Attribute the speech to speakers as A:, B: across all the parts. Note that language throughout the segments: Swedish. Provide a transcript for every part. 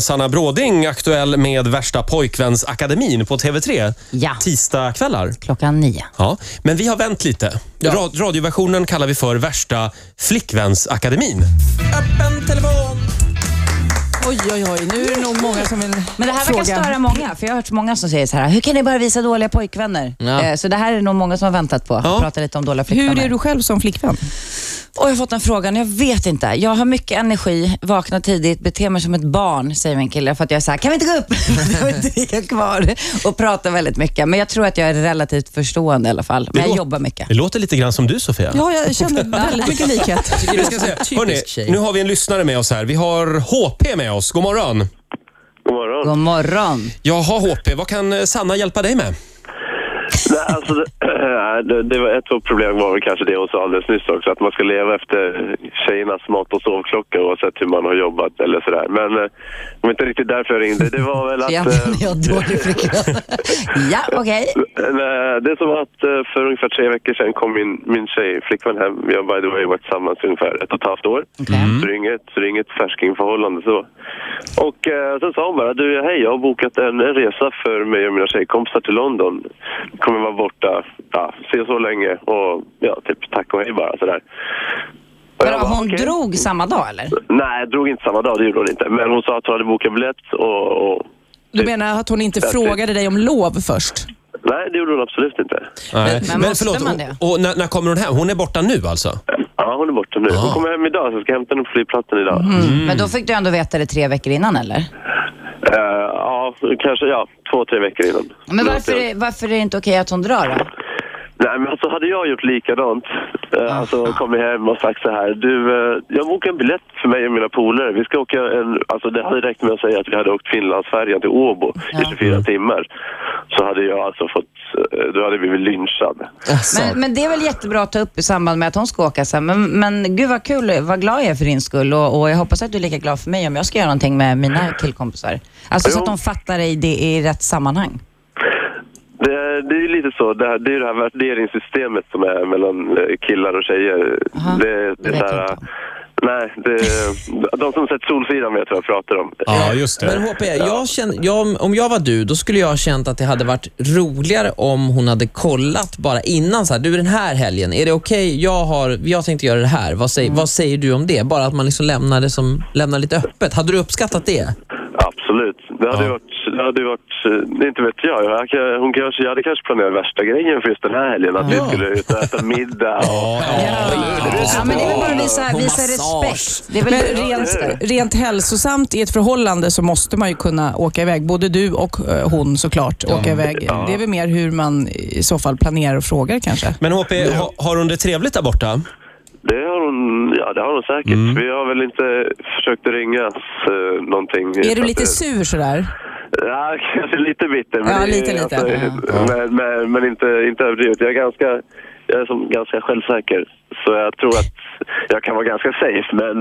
A: Sanna Bråding, aktuell med Värsta pojkvänsakademin på TV3.
B: Ja.
A: Tisdagkvällar.
B: Klockan nio.
A: Ja, men vi har vänt lite. Ra- radioversionen kallar vi för Värsta flickvänsakademin.
C: Öppen telefon. Oj, oj, oj. Nu är det nog många som vill
B: Men det här
C: fråga.
B: verkar störa många, för jag har hört många som säger så här, hur kan ni bara visa dåliga pojkvänner?
C: Ja.
B: Eh, Så det här är nog många som har väntat på.
A: Ja.
B: Prata lite om dåliga flickvänner.
C: Hur är du själv som flickvän?
B: Och jag har fått den frågan, jag vet inte. Jag har mycket energi, vaknar tidigt, beter mig som ett barn, säger min kille. För att jag är så här, kan vi inte gå upp? Jag vill inte ligga kvar och prata väldigt mycket. Men jag tror att jag är relativt förstående i alla fall. Men jag
A: låter-
B: jobbar mycket.
A: Det låter lite grann som du, Sofia.
C: Ja, jag känner väldigt mycket likhet.
A: Vi ska se. Hörrni, nu har vi en lyssnare med oss här. Vi har HP med oss. God morgon.
D: God morgon.
B: God morgon.
A: Jaha, HP. Vad kan eh, Sanna hjälpa dig med?
D: Nej, alltså, det, det, det var ett av problemen var väl kanske det hon sa alldeles nyss också, att man ska leva efter tjejernas mat och sovklocka oavsett hur man har jobbat eller sådär. Men eh, det var inte riktigt därför jag ringde. Det var väl
B: Så
D: att...
B: egentligen
D: eh,
B: är jag dålig flickvän. ja, okej.
D: nej, det som var att eh, för ungefär tre veckor sedan kom min, min tjej, flickvän hem. Vi har by the way varit tillsammans i ungefär ett och ett halvt år. Mm. Så, det är inget, så det är inget färskingförhållande så. Och eh, sen sa hon bara, du hej jag har bokat en, en resa för mig och mina tjejkompisar till London. Kommer vara borta, ja, se så länge och ja, typ tack och hej bara sådär. Och jag
B: Men
D: bara,
B: hon
D: "Okej."
B: drog samma dag eller?
D: Nej, jag drog inte samma dag, det gjorde hon inte. Men hon sa att hon hade bokat biljett och, och
C: Du menar att hon inte frågade dig om lov först?
D: nej, det gjorde hon absolut inte.
A: Nej.
B: men måste man det?
A: Och, och när, när kommer hon hem? Hon är borta nu alltså?
D: Ja, hon är borta nu. Hon kommer hem idag, så jag ska hämta henne på flygplatsen idag.
B: Men då fick du ändå veta det tre veckor innan eller?
D: Eh, ja, kanske ja, två, tre veckor innan.
B: Men varför, är- varför är det inte okej att hon drar då?
D: Nej, men alltså hade jag gjort likadant, eh,
B: Ah.
D: alltså kommit hem och sagt så här, du, eh, jag bokar en biljett för mig och mina polare. Vi ska åka en, alltså det hade räckt med att säga att vi hade åkt Finlandsfärjan till Åbo i 24 timmar. Så hade jag alltså fått, eh, då hade vi blivit lynchad. Alltså.
B: Men, men det är väl jättebra att ta upp i samband med att hon ska åka sen. Men, men gud vad kul, vad glad jag är för din skull och, och jag hoppas att du är lika glad för mig om jag ska göra någonting med mina killkompisar. Alltså så
D: Jo.
B: att de fattar dig det i rätt sammanhang.
D: Det, är- det är ju lite så, det, här, det är ju det här värderingssystemet som är mellan eh, killar och tjejer.
B: Aha,
D: Det,
B: det
D: det är
B: vet
D: så
B: jag
D: här,
B: inte.
D: nej, det, de som sett Solsidan vet vad jag pratar om.
A: Ja, just det.
E: Men HP, jag känner, jag, om jag var du, då skulle jag ha känt att det hade varit roligare om hon hade kollat bara innan. Så här, du, den här helgen, är det okej? Jag, har, jag tänkte göra det här. Vad, säger- vad säger du om det? Bara att man liksom lämnar det som, lämnar lite öppet. Hade du uppskattat det?
D: Absolut. Det hade ju varit, det hade ju varit, eh, inte vet jag. jag kan- hon kanske, jag hade kanske planerat värsta grejen för just den här helgen. Att vi skulle ut och äta middag och...
B: Ja, men det är väl bara att visa,
E: Och
B: visa
E: massage.
B: respekt. Det är väl
C: Men rent, rent hälsosamt i ett förhållande så måste man ju kunna åka iväg. Både du och eh, hon såklart. Åka iväg. Det är väl mer hur man i så fall planerar och frågar kanske.
A: Men HP, ha, har hon det trevligt där borta?
D: Det har hon, ja det har hon säkert. Vi har väl inte försökt ringas eh, någonting.
C: Är du lite
D: sur?
C: sur sådär?
D: Ja, kanske lite bitter. Men
C: Ja,
D: det är- alltså-
C: lite, lite.
D: men, men, men inte, inte överdrivet. Jag är ganska, jag är som ganska självsäker. Så jag tror att jag kan vara ganska safe. Men,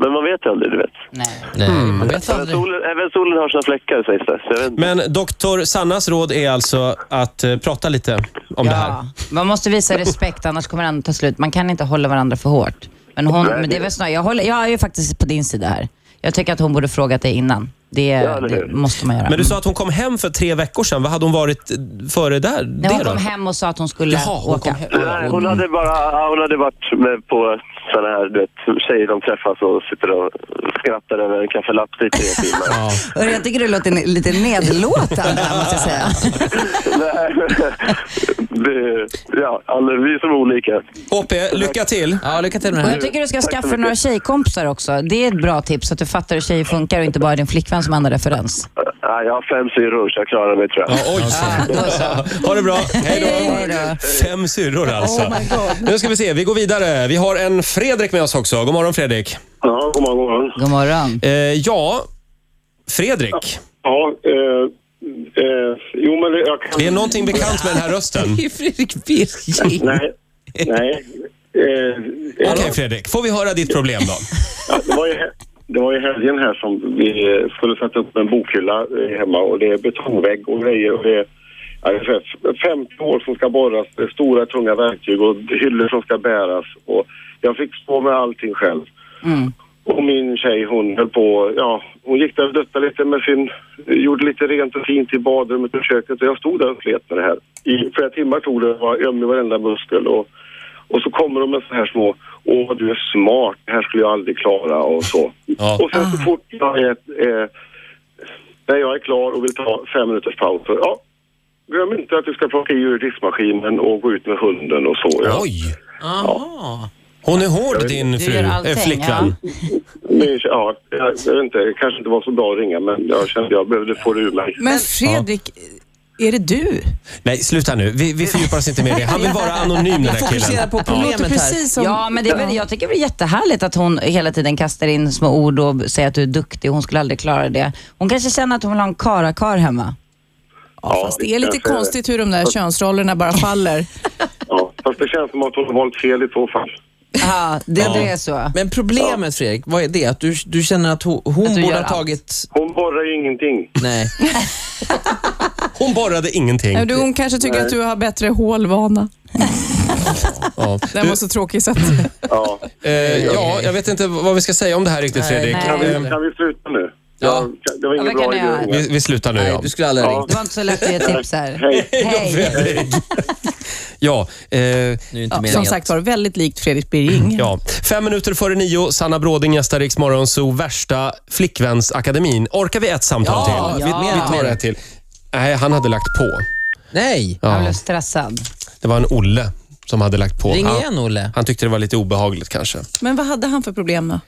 D: men man vet ju aldrig, du vet.
B: Nej.
E: Nej, man vet
D: Även
E: aldrig.
D: solen, även solen har sina fläckar sägs det. Så jag vet inte.
A: Men doktor Sannas råd är alltså att eh, prata lite om det här.
B: Ja, man måste visa respekt annars kommer det ändå ta slut. Man kan inte hålla varandra för hårt. Men, hon, men det är väl snarare, jag, håller, jag är ju faktiskt på din sida här. Jag tycker att hon borde frågat dig innan. Det,
D: eller
B: det
D: hur?
B: måste man göra.
A: Men du sa att hon kom hem för tre veckor sedan. Vad hade hon varit eh, före där?
B: När hon
A: det då?
B: kom hem och sa att hon skulle
A: Jaha, hon
B: åka.
A: kom hem.
D: Nej, hon hade bara ja, hon hade varit med på sådana här du vet, tjejer de träffas och sitter och skrattar över en kaffelapp i tre timmar.
B: Och jag tycker du låter ne- lite nedlåtande här, måste jag säga.
D: Nej, det, ja, alla, vi är som olika.
A: HP, lycka till.
E: Ja, lycka till med det
B: Och
E: här.
B: jag tycker du ska skaffa några tjejkompisar också. Det är ett bra tips, så att du fattar hur tjejer funkar och inte bara din flickvän som andra referens.
D: Nej, jag har fem syrror så jag klarar mig tror jag.
A: Ja, oj. ha det bra. Hej då.
B: Hej då. Oh
A: Fem syrror alltså. nu ska vi se, vi går vidare. Vi har en Fredrik med oss också. God morgon Fredrik.
D: Ja, god morgon,
B: God
D: god morgon.
B: morgon.
A: Eh, ja, Fredrik.
F: Ja, eh, eh, jo men jag kan...
A: Det är någonting bekant med den här rösten.
E: Det är Fredrik Birgit.
F: Nej, nej. Eh, eh,
A: Okej Fredrik, får vi höra ditt problem då?
F: det, var ju, he- det var ju helgen här som vi eh, skulle sätta upp en bokhylla eh, hemma och det är betongvägg och grejer och det är ja, det är ungefär 50 hål som ska borras, det är stora tunga verktyg och hyllor som ska bäras och jag fick stå med allting själv. Och min tjej hon höll på, ja, hon gick där och duttade lite med sin, gjorde lite rent och fint i badrummet och köket och jag stod där och slet med det här. I flera timmar tog det, var öm i varenda muskel och, och så kommer de med så här små, åh du är smart, det här skulle jag aldrig klara och så.
A: Ja.
F: Och sen så fort jag är, eh, när jag är klar och vill ta fem minuters paus, så, ja, glöm inte att du ska plocka i ur diskmaskinen och gå ut med hunden och så. Ja.
A: Oj!
E: Aha.
A: Hon är hård din
B: Du
A: fru,
B: gör allting,
A: eh, flickvän.
F: Men, ja, jag, jag vet inte, det kanske inte var så bra att ringa men jag kände jag behövde få det ur mig.
C: Men Fredrik, är det du?
A: Nej, sluta nu. Vi, vi fördjupar oss inte mer i det. Han vill vara anonym den här
E: Fokusera
A: killen.
E: på
C: Det låter
E: problemet här.
C: precis som...
B: Ja, men det är väl, jag tycker det är jättehärligt att hon hela tiden kastar in små ord och säger att du är duktig. Hon skulle aldrig klara det. Hon kanske känner att hon vill ha en karakar hemma.
C: Ja, fast det är lite
F: kanske-
C: konstigt hur de där könsrollerna bara faller.
F: Ja, fast det känns som att hon har valt fel i så fall.
B: Ja, det, det är så.
E: Men problemet Fredrik, vad är det? Att du, du känner att hon, hon
B: Att du
E: borde
B: gör
E: ha
B: allt.
E: tagit...
F: Hon borrar ju ingenting.
E: Nej.
A: Hon borrade ingenting.
C: Nej, du, hon kanske tycker att du har bättre hålvana.
A: Ja.
C: Den var så tråkig så att...
F: Ja.
A: Eh, ja, jag vet inte vad vi ska säga om det här riktigt, Fredrik.
B: nej.
F: Kan, vi,
A: Eh,
F: kan vi sluta nu?
E: Ja.
F: Jag- det var ingen
B: Ja, vad
F: bra
B: kan jag göra?
F: idé.
A: Vi, vi slutar nu.
E: Nej,
A: ja.
E: du skulle aldrig ha
F: Ja.
E: ringt.
B: Det var inte så lätt att ge tips här.
F: Hej.
B: Hej.
A: Fredrik. ja, eh,
E: Nu är det inte
C: Ja,
E: meningen.
C: som sagt var, väldigt likt Fredrik Birging.
A: ja. Fem minuter före nio, Sanna Bråding gästar Rix Morgonzoo, värsta flickvänsakademin. Orkar vi ett samtal
E: Ja,
A: till?
E: vi- Ja.
A: Vi tar ett till. Nej, han hade lagt på.
E: Nej!
B: Jag
A: Ja.
B: blev stressad.
A: Det var en Olle som hade lagt på.
E: Ring
A: Han-
E: igen Olle.
A: Han tyckte det var lite obehagligt kanske.
C: Men vad hade han för problem då?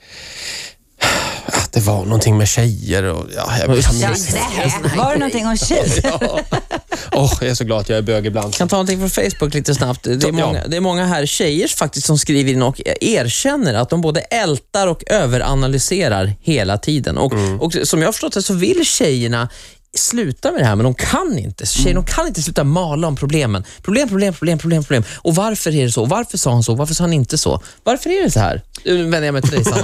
A: Att det var någonting med tjejer och... Ja, jag, jag,
B: Ja,
A: minns-
B: nej. Var det någonting om tjej?
A: Åh, jag är så glad att jag är bög ibland.
E: kan ta någonting från Facebook lite snabbt. Det är,
A: Ja.
E: många, det är många här tjejer faktiskt som skriver in och erkänner att de både ältar och överanalyserar hela tiden. Och, och Som jag har förstått det så vill tjejerna sluta med det här, men de kan inte. Tjejerna de kan inte sluta mala om problemen. Problem, problem, problem, problem, problem. Och varför är det så? Varför sa han så? Varför sa han inte så? Varför är det så här? Nu vänder jag mig till dig, Sanna.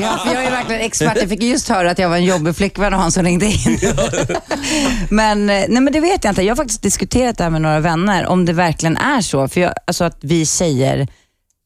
B: Ja, för jag är verkligen expert. Jag fick just höra att jag var en jobbig flickvän och han som ringde in. Men, eh, nej, men det vet jag inte. Jag har faktiskt diskuterat det här med några vänner, om det verkligen är så. För jag, alltså att vi tjejer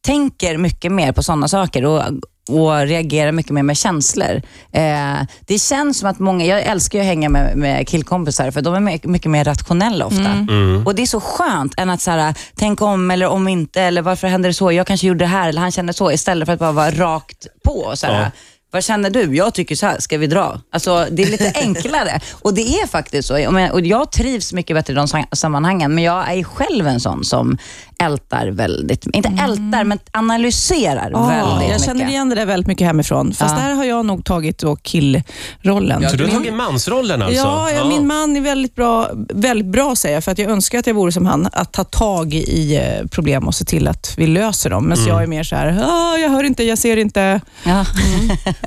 B: tänker mycket mer på sådana saker och, och reagerar mycket mer med känslor. Eh, det känns som att många, jag älskar ju att hänga med, med killkompisar för de är mycket, mycket mer rationella ofta. Och det är så skönt än att så här, tänk om eller om inte eller varför hände det så? Jag kanske gjorde det här eller han kände så istället för att bara vara rakt på. Och så här,
A: Ja.
B: vad känner du? Jag tycker så här, ska vi dra? Alltså, det är lite enklare. Och det är faktiskt så. Jag, menar, och jag trivs mycket bättre i de sam- sammanhangen, men jag är ju själv en sån som ältar väldigt, inte ältar, men analyserar väldigt
C: Mm. Ah. jag känner
B: mycket.
C: igen det där väldigt mycket hemifrån. Fast
B: Ja.
C: där har jag nog tagit då killrollen.
A: Så du har tagit mansrollen alltså?
C: Ja, ja, min man är väldigt bra, väldigt bra säger jag, för att jag önskar att jag vore som han, att ta tag i eh, problem och se till att vi löser dem. Men jag är mer så här, "Ah, jag hör inte, jag ser inte.
B: Ja,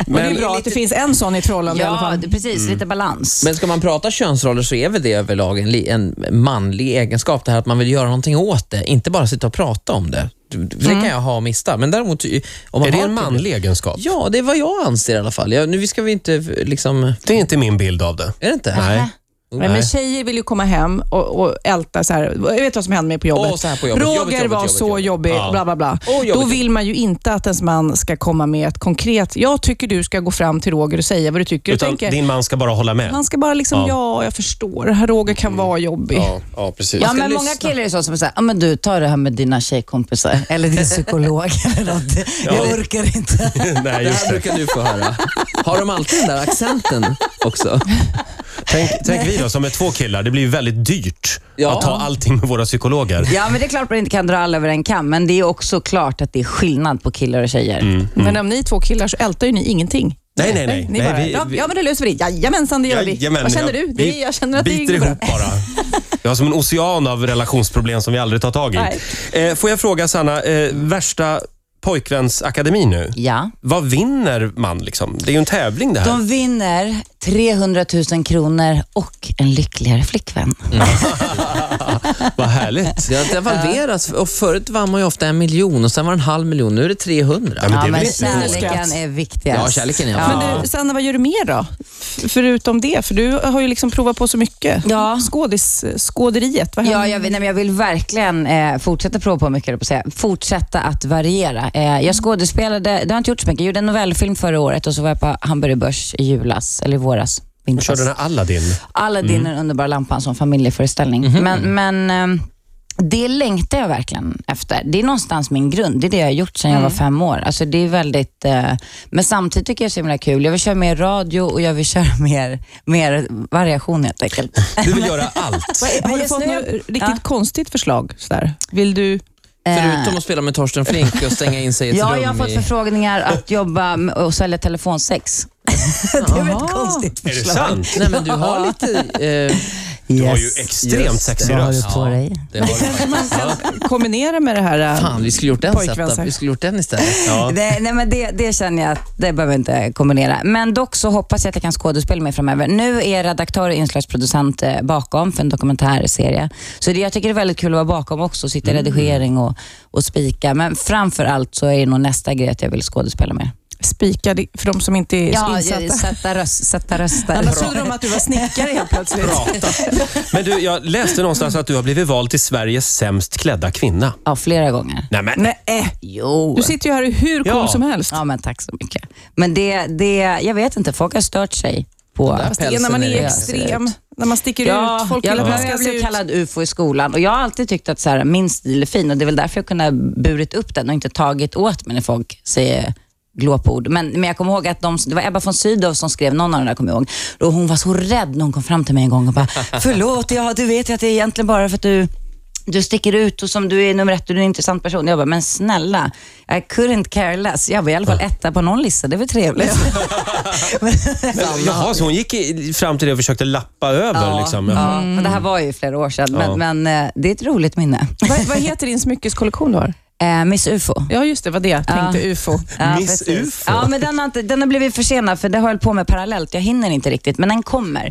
C: Men, det är bra att det finns en sån i Trollhättan Mm. i alla
B: ja
C: fall. Mm.
B: det, precis. Lite balans.
E: Men ska man prata könsroller så är väl det överlag en, li- en manlig egenskap, det här att man vill göra någonting åt det, inte bara sitta och prata om det. Du- För det kan jag ha och mista. Men däremot, i- om man
A: Är det
E: har
A: en
E: problem-
A: manlig egenskap?
E: Ja, det är vad jag anser i alla fall. Jag, nu vi ska vi inte liksom...
A: Det är inte min bild av det.
E: Är det inte?
A: Nej.
C: Nej. Men tjejer vill ju komma hem och, och älta så här. Jag vet vad som hände mig på jobbet.
E: Åh, så här på jobbet.
C: Roger
E: Jobbigt, jobbigt,
C: var
E: jobbigt,
C: så
E: jobbigt.
C: jobbig,
A: Ja.
C: bla bla bla.
E: Åh, jobbigt,
C: Då vill man ju inte att ens man ska komma med ett konkret, jag tycker du ska gå fram till Roger och säga vad du tycker.
A: Utan
C: jag tänker,
A: din man ska bara hålla med?
C: Han ska bara liksom,
A: Ja.
C: ja. jag förstår, Herr Roger kan vara jobbig.
A: Ja, ja precis.
B: Ja,
A: Ja,
B: men många
C: lyssna.
B: killar är så som säger, ja men du, ta det här med dina tjejkompisar eller din psykolog eller något. Jag
A: Ja.
B: orkar inte.
A: Nej,
E: Det
A: just
E: här
A: det.
E: brukar du få höra. Har de alltid den där accenten också?
A: Tänk, tänk vi då som är två killar. Det blir ju väldigt dyrt
E: Ja.
A: att ta allting med våra psykologer.
B: Ja, men det är klart man inte kan dra alla över en kam, men det är också klart att det är skillnad på killar och tjejer.
C: Men om ni är två killar så ältar ju ni ingenting.
A: Nej, nej, nej.
C: Ni bara,
A: nej
C: ja, ja men det löser vi. Jajamensan, det gör vi.
A: Jajamän,
C: Vad känner
A: ja.
C: du? Det, jag känner att
A: biter
C: det går
A: ihop bara. Vi har som en ocean av relationsproblem som vi aldrig tar tag i.
C: Nej.
A: Eh, får jag fråga Sanna, eh, värsta pojkvänsakademi nu.
B: Ja.
A: Vad vinner man liksom? Det är ju en tävling det här.
B: De vinner 300 000 kronor och en lyckligare flickvän.
A: Vad härligt.
E: Det har devalverats. Och förut vann man ju ofta en miljon och sen var det en halv miljon. Nu är det 300.
A: Ja, men det
B: Ja,
A: är väl
B: men
A: inte
B: kärleken är viktigast.
E: Ja, kärleken är
C: bra. Men du, Sanna, vad gör du mer då? f- förutom det? För du har ju liksom provat på så mycket.
B: Ja.
C: Skådis, skåderiet, vad
B: Ja,
C: händer?
B: jag, vill- nej, men jag vill verkligen eh, fortsätta prova på mycket, höll jag på att säga. Fortsätta att variera. Eh, jag skådespelade, det har jag inte gjort så mycket. Jag gjorde en novellfilm förra året och så var jag på Hamburger Börs i julas, eller i våras.
A: Och kör den här Aladdin.
B: Aladdin
C: Mm.
B: och den underbara lampan som familjeföreställning.
C: Mhm.
B: Men, men ehm, det längtar jag verkligen efter. Det är någonstans min grund. Det är det jag har gjort sedan
C: Mm.
B: jag var fem år. Alltså det är väldigt, eh, men samtidigt tycker jag det är så himla kul. Jag vill köra mer radio och jag vill köra mer, mer variation helt enkelt.
A: Du vill göra allt.
C: Har
B: Men
C: du
B: just
C: fått
B: nu-
C: något riktigt
B: Ja.
C: konstigt förslag? Sådär? Vill du...
E: Förutom att spela med Torsten Flink och stänga in sig i ett
B: Ja,
E: rum
B: jag har fått
E: i-
B: förfrågningar att jobba med- och sälja telefonsex. det är väl ett konstigt
A: Är det
B: förslag.
A: sant?
E: Nej, men du har lite... Eh,
A: Du har ju
B: Yes.
A: extremt
E: Just
A: sexig
B: Vad har
A: röst.
B: du på dig?
E: det har du.
C: kombinera med det här... eh,
E: Fan, vi skulle gjort den
C: Pojkvän,
E: setup.
C: så här.
E: Vi skulle gjort den istället.
A: Ja.
B: Det, nej men det, det känner jag att det behöver jag inte kombinera. Men dock så hoppas jag att jag kan skådespela mer framöver. Nu är jag redaktör och inslagsproducent eh, bakom för en dokumentärserie. Så det, jag tycker det är väldigt kul att vara bakom också, sitta i redigering och, och spika. Men framför allt så är det nog nästa grej att jag vill skådespela mer.
C: Spika det- för de som inte är så
B: Ja,
C: insatta.
B: jag- sätta, röst, sätta röster.
C: Annars trodde de att du var snickare helt plötsligt.
A: Men du, jag läste någonstans att du har blivit vald till Sveriges sämst klädda kvinna.
B: Ja, flera gånger.
A: Nej, men.
C: Nej, äh,
B: Jo.
C: du sitter ju här hur cool
A: Ja.
C: som helst.
B: Ja, men tack så mycket. Men det, det, jag vet inte, folk har stört sig på...
E: Fast
C: Det är när
E: Pälsen
C: man är
E: är
C: extrem, när man sticker ut. Folk
B: jag,
C: vill att
B: blev-
C: man ska
B: jag
C: se
B: blev
C: ut.
B: kallad UFO i skolan och jag har alltid tyckt att så här, min stil är fin och det är väl därför jag kunde ha burit upp den och inte tagit åt mig när folk säger glåpord. Men, men jag kommer ihåg att de, det var Ebba von Sydow som skrev någon av de där, kommer jag ihåg. Och hon var så rädd när hon kom fram till mig en gång och bara, förlåt, ja, du vet ju att det är egentligen bara för att du du sticker ut och som du är nummer ett, du är en intressant person. Jag bara, men snälla, I couldn't care less. Jag var i alla fall etta på någon lista, det är väl trevligt.
A: Men, jaha, så hon gick i, fram till det och försökte lappa över? liksom. Jaha.
B: Ja, men det här var ju flera år sedan,
A: Ja.
B: men, men eh, det är ett roligt minne.
C: Vad, vad heter din smyckeskollektion du har?
B: Eh, Miss UFO.
C: Ja, just det. vad det jag tänkte. UFO.
B: Ja,
A: Miss
B: precis.
A: UFO.
B: Ja, men den har, inte, den har blivit försenad för det har jag hållit på med parallellt. Jag hinner inte riktigt, men den kommer.